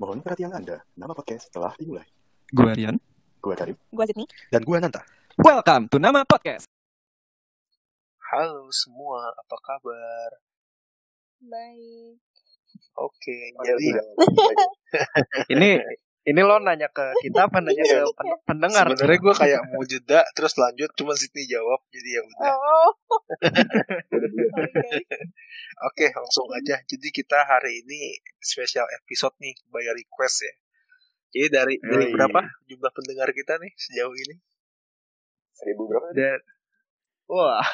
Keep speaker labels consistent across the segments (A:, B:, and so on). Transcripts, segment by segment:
A: Mohon perhatian Anda, nama podcast telah dimulai.
B: Gue Rian.
A: Gue Karim.
C: Gue Zetni.
D: Dan gue Nanta.
B: Welcome to Nama Podcast.
D: Halo semua, apa kabar?
C: Baik.
D: Oke,
A: Oh,
D: jadi
A: iya.
D: ini ini lo nanya ke kita apa nanya ke pen- pendengar? Iya. Sebenarnya gue kayak mau jeda terus lanjut cuma Sydney jawab jadi ya udah.
C: Oh. Sorry, guys.
D: Oke, langsung aja. Jadi kita hari ini spesial episode nih by request ya. Jadi dari dari
A: Yoi.
D: berapa jumlah pendengar kita nih sejauh ini?
A: Seribu berapa?
D: Dan wah,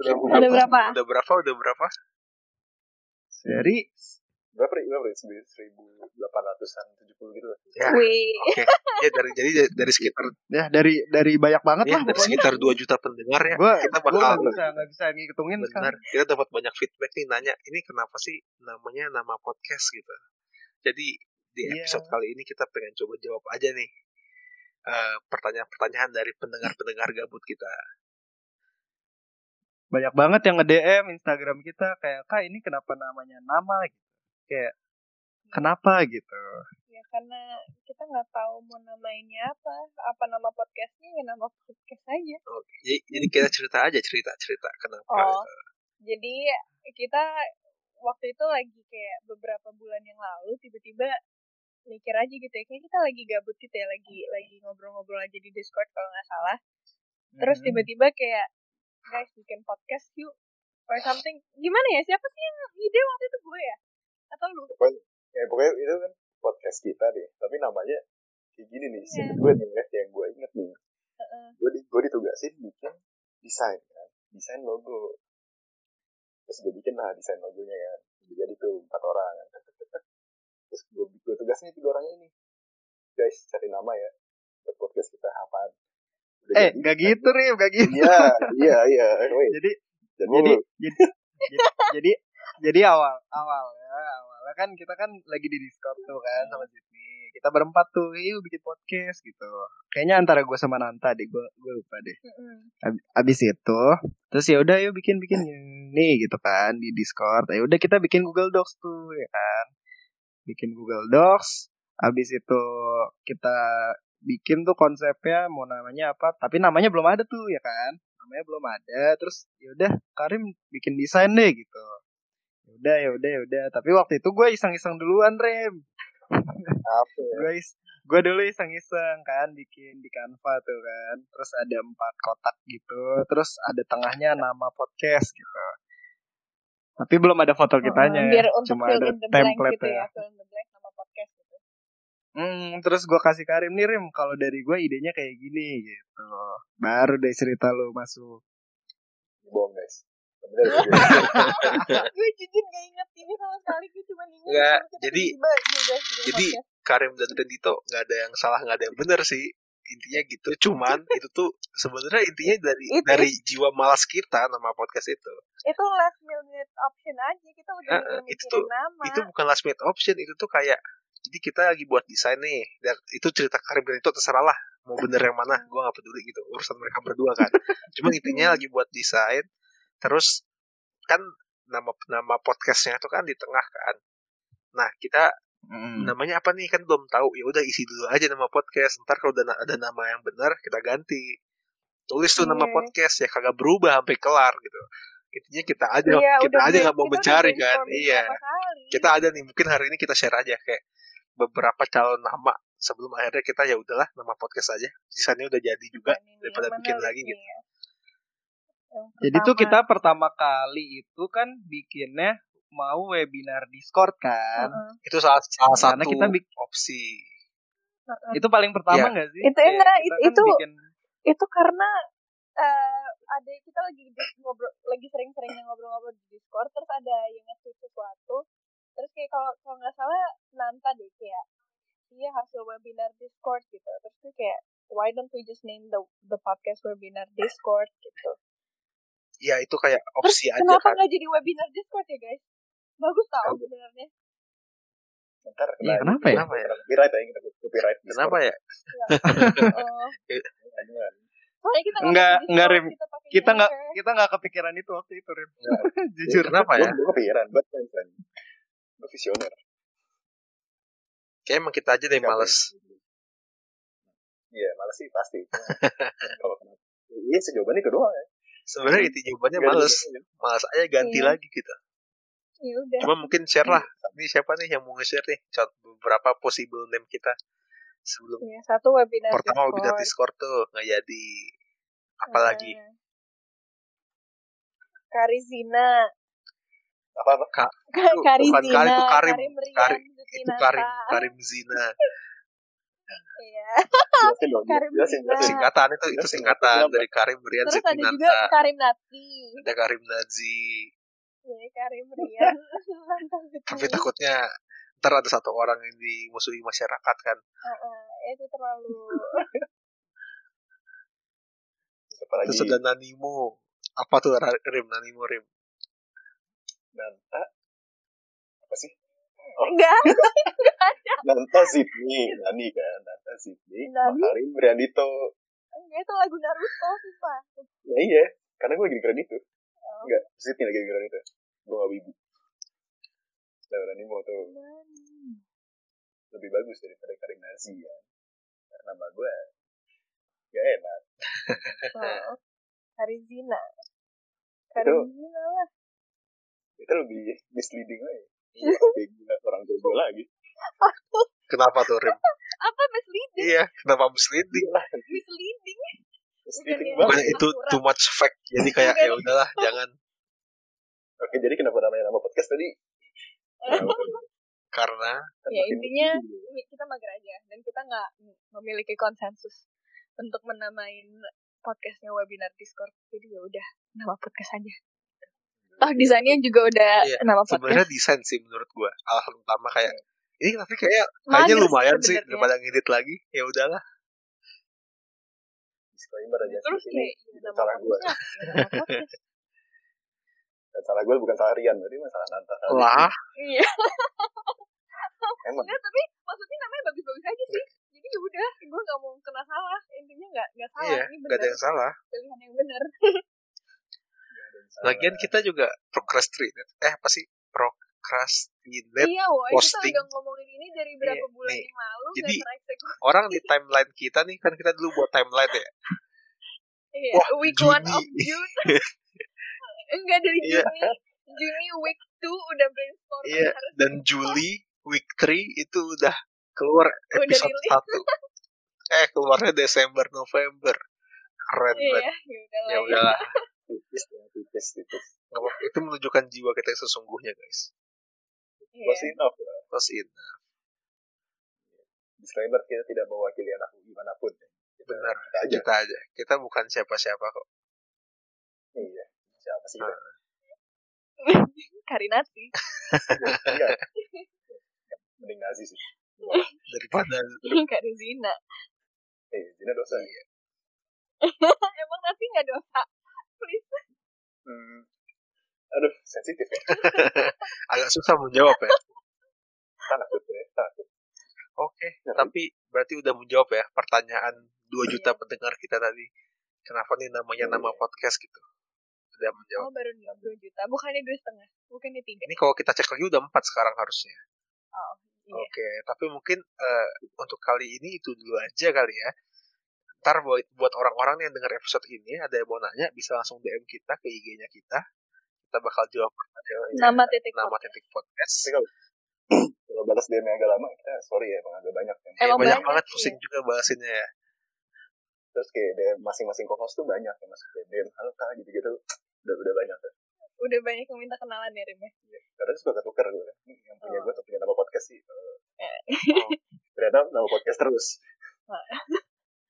A: Udah
C: Ada berapa?
D: udah berapa? Udah berapa? Dari
A: Berapa? Berapa? Seribu delapan ratusan tujuh puluh gitu.
D: ya
C: Wih.
D: Oke. Ya dari jadi dari sekitar
E: ya dari dari banyak banget
D: ya,
E: lah
D: dari
E: pokoknya
D: sekitar 2 juta pendengar ya.
E: gue
D: Kita
E: gue
D: bakal
E: nggak bisa nggak bisa ngitungin
D: benar
E: Kan sekarang
D: kita dapat banyak feedback nih nanya ini kenapa sih namanya nama podcast gitu. Jadi di
E: Iya.
D: episode kali ini kita pengen coba jawab aja nih eh, pertanyaan-pertanyaan dari pendengar-pendengar gabut kita.
E: banyak banget yang nge DM Instagram kita kayak kak ini kenapa namanya nama gitu kayak kenapa gitu
C: Ya karena kita nggak tahu mau namainnya apa. Apa nama podcastnya ya nama podcast aja.
D: Oke. Jadi, jadi kita cerita aja cerita-cerita kenapa.
C: Oh. Jadi kita waktu itu lagi kayak beberapa bulan yang lalu tiba-tiba mikir aja gitu ya. Kayak kita lagi gabut gitu ya. Lagi lagi ngobrol-ngobrol aja di Discord kalau nggak salah. Terus
E: Hmm.
C: tiba-tiba kayak guys bikin podcast yuk or something. Gimana ya? Siapa sih yang ide waktu itu gue ya? Atau lu?
A: Ya pokoknya itu kan podcast kita deh. Tapi namanya kayak gini nih.
C: Iya.
A: Singkat gue nih guys, yang gue inget nih.
C: Heeh.
A: Gue di, gue ditugasin bikin desain kan. Desain logo. Terus gue bikin lah desain logonya kan. Jadi tuh empat orang. kan. Terus gue, gue tugasin tiga orang ini. Guys cari nama ya. Buat podcast kita apaan. Udah
E: eh
A: jadi.
E: nggak gitu Rim nggak gitu
A: Iya, iya, iya. Wait,
E: jadi
A: jadi,
E: jadi
D: Oh.
E: jadi jadi jadi awal awal ya awalnya kan kita kan lagi di Discord tuh kan sama Sydney kita berempat tuh yuk bikin podcast gitu kayaknya antara gue sama Nanta deh gue gue lupa deh
C: Mm-mm.
E: Ab- abis itu terus ya udah yuk bikin bikin nih gitu kan di Discord ya udah kita bikin Google Docs tuh ya kan bikin Google Docs abis itu kita bikin tuh konsepnya mau namanya apa tapi namanya belum ada tuh ya kan namanya belum ada terus ya udah Karim bikin desain deh gitu Ya udah ya udah ya udah tapi waktu itu gue iseng-iseng duluan Rem
A: apa ya?
E: guys gue dulu iseng-iseng kan bikin di Canva tuh kan terus ada empat kotak gitu terus ada tengahnya nama podcast gitu tapi belum ada foto
A: Oh.
E: kitanya
C: Biar untuk
E: cuma
C: fill
E: ada
C: in the blank
E: template
C: gitu ya.
E: ya
C: Fill in the blank nama podcast gitu.
E: Hmm, terus gue kasih Karim nih Rim kalau dari gue idenya kayak gini gitu baru deh cerita lu masuk
A: bohong guys. Sebenarnya gue-
C: gue jujur gak inget ini sama sekali. Gue cuma inget.
D: Nggak,
C: kalau kita iya,
D: jadi-
C: tiba-tiba, "Yuk, guys, bikin
D: jadi-
C: podcast."
D: Karim dan Rendito nggak ada yang salah nggak ada yang benar sih intinya gitu cuman itu tuh sebenarnya intinya dari
C: Itu.
D: dari jiwa malas kita nama podcast itu
C: Itu last minute option aja. Kita udah
D: Eh, eh,
C: mikirin
D: itu tuh-
C: nama.
D: itu bukan last minute option itu tuh kayak jadi kita lagi buat desain nih dan itu cerita Karim dan itu terserah lah mau bener yang mana gue nggak peduli gitu urusan mereka berdua kan cuman intinya lagi buat desain terus kan nama nama podcastnya itu kan di tengah kan nah kita
E: Hmm.
C: Nah,
D: namanya apa nih kan belum tahu ya udah isi dulu aja nama podcast ntar kalau udah na- ada nama yang benar kita ganti tulis tuh nama
C: Iya.
D: podcast ya kagak berubah sampai kelar gitu intinya kita aja
C: Iya,
D: kita
C: udah
D: aja
C: gue-
D: nggak
C: kita
D: mau
C: udah
D: mencari kan
C: brainstorming
D: iya
C: berapa kali.
D: kita ada nih mungkin hari ini kita share aja kayak beberapa calon nama sebelum akhirnya kita ya udahlah nama podcast aja sisanya udah jadi juga
C: Dan ini
D: daripada
C: yang
D: bikin
C: menarik
D: lagi
C: Iya, nih
D: gitu.
C: ya. Yang
E: Jadi tuh
C: pertama.
E: kita pertama kali itu kan bikinnya mau webinar Discord kan.
C: Heeh.
D: itu salah, salah
E: Karena
D: satu
E: kita bik-
D: opsi
C: Heeh.
E: Itu paling pertama
D: Iya. kan
E: nggak sih?
C: Hmm. Itu
E: Kayak
C: enggak,
E: kita kan
C: it- itu-
E: bikin
C: itu karena eh ada kita lagi di- ngobrol lagi sering-seringnya ngobrol-ngobrol di Discord terus ada yang nge-tweet sesuatu terus kayak kalau kalau nggak salah Nanta deh kayak iya hasil webinar Discord gitu terus tuh kayak why don't we just name the the podcast webinar Discord gitu
D: ya itu kayak opsi aja
C: kenapa
D: kan
C: nggak jadi webinar Discord ya guys bagus tau sebenarnya
A: Ntar
E: Iya,
A: kena
E: kenapa ya?
D: kenapa ya
A: copyright ya, kita copyright.
D: kenapa ya
C: oh,
A: Jangan.
C: soalnya kita
E: Nggak-
C: pakai Discord,
E: nggak, Rim.
C: pakai
E: kita nggak
C: Anchor.
E: kita nggak kepikiran itu waktu itu Rim.
A: Nggak.
E: Jujur.
D: kenapa ya
A: Gue kepikiran, buat keren keren. Gue visioner.
D: Kayak emang kita aja deh yang males.
A: Iya, males sih pasti. Kalau kenapa? Iya, sejawabannya kedua Iya, ya.
D: Sebenarnya itu jawabannya
A: Nggak ada
D: males.
A: bedanya.
D: Males aja ganti
C: Iya.
D: lagi gitu.
C: ya udah
D: Cuma mungkin share lah. Ini siapa nih yang mau nge-share nih? Cot beberapa possible name kita. Sebelum
C: ya satu webinar
D: pertama
C: Discord.
D: webinar Discord tuh nggak jadi. Apalagi
C: Ah. Karizina
A: Apa-apa?
C: Ka-
D: Itu
C: Karizina
D: bukan Kari, itu Karim.
C: Rian
D: Kari- itu
C: Zutinata.
D: Karim
C: ya.
D: Karim Zina.
C: Iya.
A: Jelasin dong.
C: Karim
A: Jelasin,
C: Bima.
A: jelasin.
D: Singkatan itu itu singkatan
A: Siapa?
D: dari Karim Rian
C: terus ada juga
D: Sitinanta.
C: Karim Nati
D: Ada Karim Nazi.
C: ya Karim Rian Nata
D: Tapi
C: Zutinata.
D: takutnya ntar ada satu orang yang dimusuhi masyarakat kan.
C: Ah, itu terlalu
A: Apalagi
D: Terus ada Nanimo. Apa tuh Ra- Rim Nanimo Rim?
A: Nanta. Apa sih?
C: enggak
A: Nanta Sydney. Nani kan. Nanta Sydney.
C: Nani?
A: Makarim Briandito.
C: enggak itu lagu Naruto sumpah
A: Ya iya. Karena gue lagi di kredit tuh.
C: Oh.
A: Enggak. Sydney lagi di kredit tuh. Gue gak wibu. Nah, Nani mau tuh.
C: Nani.
A: lebih bagus daripada Karim Nazi ya. Karena nama gue gak enak.
C: Oh, Karizina
A: Itu-
C: Karizina lah
A: Itu lebih misleading lagi.
C: Iya.
A: Orang bego- orang bego lagi.
D: Kenapa tuh Rim?
C: apa misleading
D: iya, kenapa misleading?
C: Iya, misleading
A: Misleading
C: Bukan ya.
A: banget.
D: Bukan itu too much fact. Jadi kayak
C: Bukan.
D: ya udahlah, jangan
A: Oke, jadi kenapa namanya nama podcast tadi?
D: karena
C: ya intinya ini kita mager aja dan kita nggak memiliki konsensus untuk menamain podcastnya webinar Discord jadi ya udah nama podcast aja toh desainnya juga udah
D: Iya,
C: nama
D: sebenarnya
C: podcast
D: desain sih menurut gua. Alasan utama kayak ini tapi kayak kayaknya
C: Iya. Mager sih
D: lumayan sih
C: sebenarnya.
D: daripada ngedit lagi. Ya udahlah.
A: Disclaimer aja.
C: terus kayak
A: ini
C: ya, nama
A: salah gua.
C: podcastnya ya, nama podcast
A: Dan salah gue bukan salah Rian, berarti masalah Nanta.
D: Lah,
C: iya
A: Emang.
C: Nggak, tapi maksudnya namanya bagus-bagus aja sih jadi ya udah gue nggak mau kena salah intinya nggak nggak salah
D: iya,
C: ini
D: gak ada
C: benar
D: yang salah.
C: pilihan yang benar
D: Lagian kita juga procrastinate. Eh, apa sih? Procrastinate.
C: iya woy kita
D: posting.
C: udah ngomongin ini dari berapa
D: Iya,
C: bulan
D: nih.
C: yang lalu
D: Jadi,
C: nggak tereksekusi
D: Orang di timeline kita nih, kan kita dulu buat timeline ya.
C: Iya,
D: Wah,
C: week
D: Juni.
C: 1 of June. Enggak dari
D: Iya.
C: Juni. Juni week 2 udah brainstorming
D: Iya,
C: harus
D: dan Juli week 3 itu udah keluar episode
C: rilis.
D: 1. Eh, keluarnya Desember, November. Keren banget.
C: iya, ya udahlah.
D: Ya udahlah.
A: Tipis, ya, tipis, tipis.
D: Nggak apa-apa. Itu menunjukkan jiwa kita yang sesungguhnya, guys.
C: Iya.
A: Close enough lah.
D: Terus ini,
A: Disclaimer, kita tidak mewakili anak UI manapun. Kita,
D: benar.
A: kita aja.
D: Kita aja. Kita bukan siapa-siapa kok.
A: Iya. Siapa sih? kita?
C: Karinati.
A: Iya. Mending Nazi sih.
D: Daripada
C: Karizina.
A: Eh, Zina dosa.
C: Emang nanti nggak dosa. Please.
A: Hmm. Aduh, sensitif ya.
D: agak susah menjawab ya.
A: Takut ya. Nah, Takut.
D: Oke, tapi berarti udah menjawab ya pertanyaan
C: Iya.
D: 2 juta pendengar kita tadi. Kenapa nih namanya
A: Iya,
D: nama podcast gitu? Udah menjawab.
C: Oh, baru 2 juta. Bukannya 2 setengah. Bukannya 3.
D: Ini kalau kita cek lagi udah 4 sekarang harusnya.
C: Oh, iya.
D: Oke, tapi mungkin eh, untuk kali ini itu dulu aja kali ya. Ntar buat buat orang-orang yang dengar episode ini ada yang mau nanya bisa langsung DM kita ke IG-nya kita. Kita bakal jawab pertanyaan
C: Nama titik
D: nama
C: podcast.
D: titik podcast.
A: Tapi kalau kalau balas DM yang agak lama, kita sorry ya, emang agak banyak. Yang
C: Emang
D: banyak
C: banyak,
D: banget
C: iya.
D: pusing juga bahasinnya ya.
A: Terus kayak DM masing-masing kokos tuh banyak yang masuk kayak DM, halo kak, gitu-gitu. Udah, udah banyak tuh.
C: Udah banyak yang minta kenalan ya, Rim. ya?
A: Karena suka ketuker gue. Ini yang punya
C: Oh.
A: gue atau punya nama podcast sih. Eh,
C: Eh.
A: oh, Ternyata nama podcast terus.
C: Oh.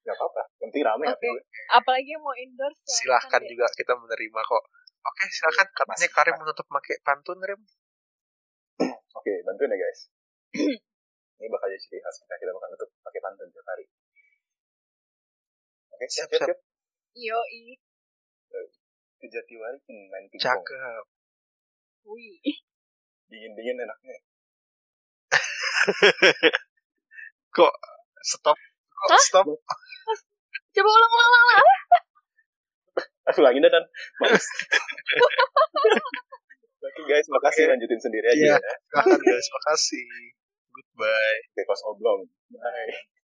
A: Gak apa-apa, nanti rame hati
C: Oke.
A: gue.
C: Apalagi yang mau endorse.
D: silahkan
C: deh.
D: juga kita menerima kok. Oke, silahkan. Katanya Karim menutup pakai pantun, Rim.
C: Iya,
A: Oke, bantuin ya guys. Ini bakal jadi ciri khas kita, kita bakal nutup pakai pantun tiap hari. Oke,
D: Siap,
A: siap, siap,
D: siap.
A: siap.
C: Yoi.
A: Kejati wari, hmm, main pingpong.
D: Cakep.
C: Wih.
A: Dingin-dingin enaknya.
D: Stop. Kok Stop.
C: Coba ulang-ulang.
A: Aduh, anginnya dan males. Oke guys, makasih lanjutin sendiri
D: Iya.
A: aja ya.
D: Silahkan, guys. Makasih. Goodbye.
A: Kayak kelas oblong. Bye.